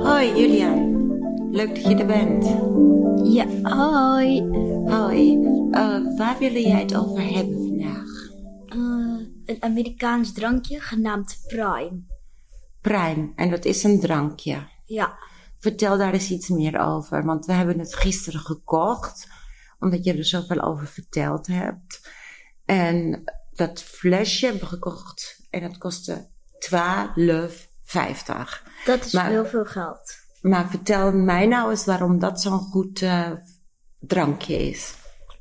Hoi Julia, leuk dat je er bent. Ja, hoi. Hoi, Eh, waar willen jij het over hebben vandaag? Eh, een Amerikaans drankje genaamd Prime. Prime, en dat is een drankje. Ja, Vertel daar eens iets meer over, want we hebben het gisteren gekocht, omdat je er zoveel over verteld hebt. En dat flesje hebben we gekocht en dat kostte 12,50. dat is Maar- heel veel geld. Maar vertel mij nou eens waarom dat zo'n goed eh, drankje is.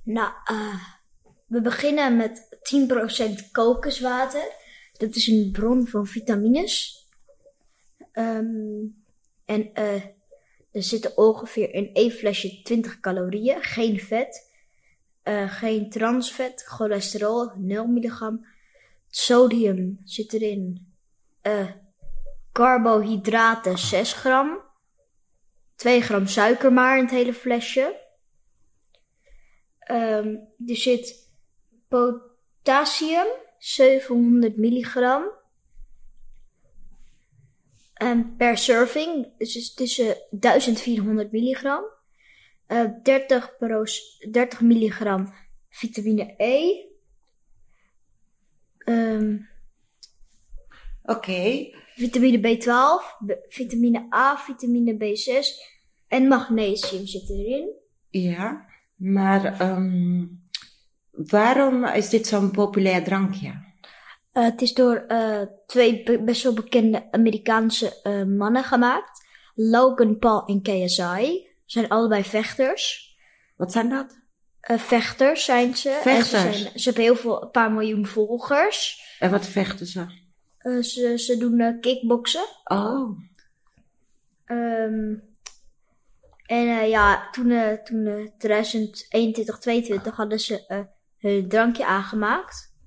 Nou, eh, we beginnen met 10% kokoswater. Dat is een bron van vitamines. Ehm, en eh, er zitten ongeveer in één flesje 20 calorieën. Geen vet, eh, geen transvet, cholesterol 0 milligram. Sodium zit erin. Eh, carbohydraten 6 gram. 2 gram suiker maar in het hele flesje. Ehm, er zit potassium, 700 milligram. En per serving, dus is tussen 1400 milligram. Eh, 30, proc- 30 milligram vitamine E. Ehm, Oké, vitamine B12, b- vitamine A, vitamine B6 en magnesium zit erin. Ja, maar ehm, waarom is dit zo'n populair drankje? Eh, het is door eh, twee be- best wel bekende Amerikaanse eh, mannen gemaakt. Logan Paul en KSI. Zijn allebei vechters. Wat zijn dat? Eh, vechters zijn ze. En Vechters? ze, zijn, ze hebben heel veel, een paar miljoen volgers. En wat vechten ze? Eh, ze, ze doen eh kickboksen. Oh, Ehm, en eh, ja, toen, eh toen eh 2021, 2022 hadden ze eh, hun drankje aangemaakt.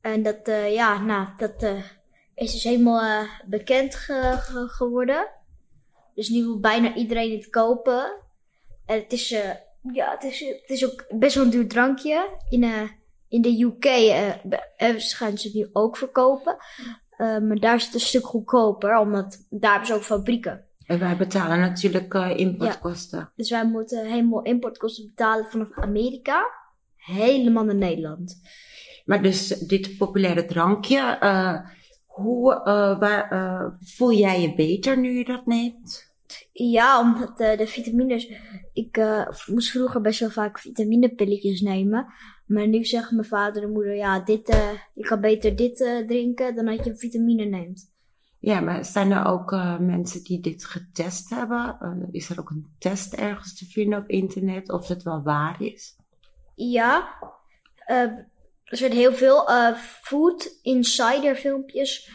En dat, eh, ja, nou, dat eh, is dus helemaal eh, bekend ge- ge- geworden. Dus nu wil bijna iedereen het kopen. En het is, eh, ja, het is, het is ook best wel een duur drankje. In, eh, in de UK eh, be- eh, gaan ze het nu ook verkopen. Eh, maar daar is het een stuk goedkoper, omdat daar hebben ze ook fabrieken. en wij betalen natuurlijk eh, importkosten. Dus wij moeten helemaal importkosten betalen vanaf Amerika helemaal naar Nederland. Maar dus dit populaire drankje, eh, hoe, eh, waar, eh, voel jij je beter nu je dat neemt? Ja, omdat eh, de vitamines. Ik eh, v- moest vroeger best wel vaak vitaminepilletjes nemen. Maar nu zeggen mijn vader en moeder: ja, dit, eh, je kan beter dit eh, drinken dan dat je vitamine neemt. Ja, maar zijn er ook eh, mensen die dit getest hebben? Eh, is er ook een test ergens te vinden op internet of het wel waar is? Ja, eh, er zijn heel veel eh, food insider filmpjes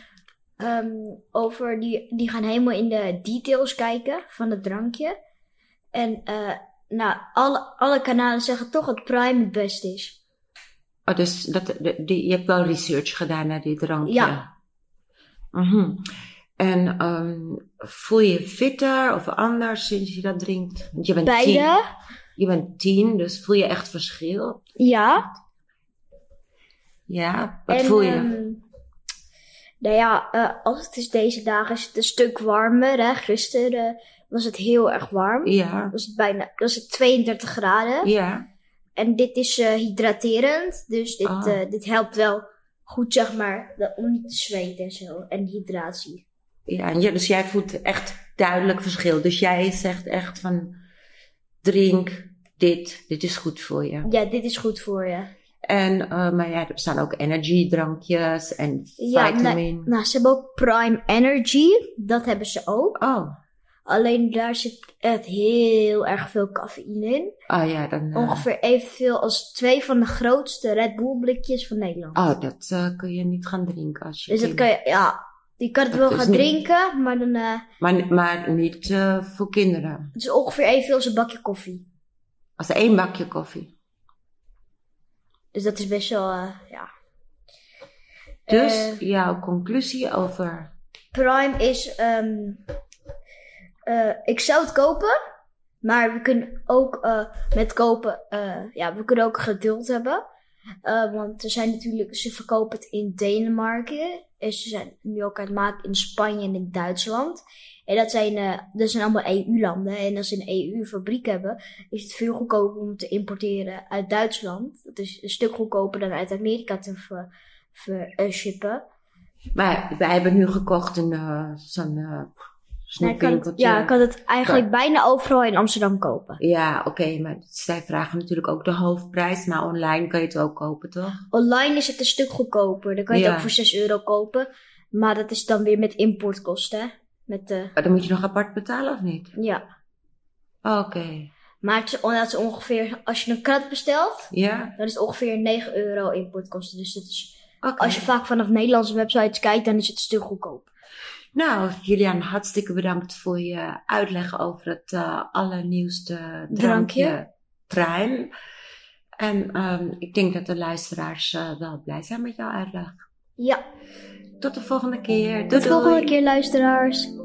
ehm, over die, die gaan helemaal in de details kijken van het drankje. En eh, nou, alle, alle kanalen zeggen toch dat Prime het beste is. Oh, dus dat, de- die, je hebt wel research gedaan naar dit drankje? Ja. Mhm. En ehm, voel je je fitter of anders sinds je dat drinkt? Want je bent Tien. Beide? Je bent tien, dus voel je echt verschil? Ja. Ja, wat voel je? ehm, nou ja, eh, als het is deze dagen is het een stuk warmer. Hè? Gisteren was het heel erg warm. ja, Was het bijna was het 32 graden. ja. En dit is eh, hydraterend. Dus dit, Ah. eh, dit helpt wel goed, zeg maar, dat- om niet te zweten en zo. En hydratie. ja, en je- dus jij voelt echt duidelijk verschil. Dus jij zegt echt van, drink dit, dit is goed voor je. Ja, dit is goed voor je. En, eh, maar ja, er bestaan ook energiedrankjes en Ja, vitamin. Nou, ze hebben ook Prime Energy. Dat hebben ze ook. Oh, Alleen daar zit echt heel erg veel cafeïne in. oh ja, dan... eh, Ongeveer evenveel als twee van de grootste Red Bull blikjes van Nederland. Oh, dat eh, kun je niet gaan drinken als je. dus dat kind- kan je, ja, je kan het Dat wel is gaan niet- drinken, maar dan, eh, Maar, maar niet eh, voor kinderen. het is ongeveer evenveel als een bakje koffie. Als één bakje koffie. Dus dat is best wel, eh, ja. Dus Eh. jouw conclusie over. Prime is, ehm, eh, ik zou het kopen, maar we kunnen ook eh, met kopen, eh, ja, we kunnen ook geduld hebben. Eh, want er zijn natuurlijk, ze verkopen het in Denemarken. En ze zijn nu ook aan het maken in Spanje en in Duitsland. En dat zijn, eh, dat zijn allemaal EU-landen. En als ze een EU-fabriek hebben, is het veel goedkoper om te importeren uit Duitsland. Dat is een stuk goedkoper dan uit Amerika te ver, ver- eh, shippen. Maar wij hebben nu gekocht een eh, zo'n eh Nou, ik kan het- snoepwinkeltje. ja, ik kan het eigenlijk bijna overal in Amsterdam kopen. Ja, oké, maar zij vragen natuurlijk ook de hoofdprijs, maar online kan je het ook kopen, toch? Online is het een stuk goedkoper. Dan kan je het Ja. ook voor 6 euro kopen. Maar dat is dan weer met importkosten. hè? Met de, Maar dan moet je nog apart betalen of niet? ja. Oké, Maar het is, on- dat is ongeveer, als je een krat bestelt, ja? dan is het ongeveer 9 euro importkosten. Dus dat is, Oké. als je vaak vanaf Nederlandse websites kijkt, dan is het een stuk goedkoop. Nou, Julian, hartstikke bedankt voor je uitleg over het eh, allernieuwste Drankje. drankje, Prime. En ehm, ik denk dat de luisteraars eh, wel blij zijn met jouw uitleg. Ja, Tot de volgende keer. Doei, tot de volgende doei. keer luisteraars.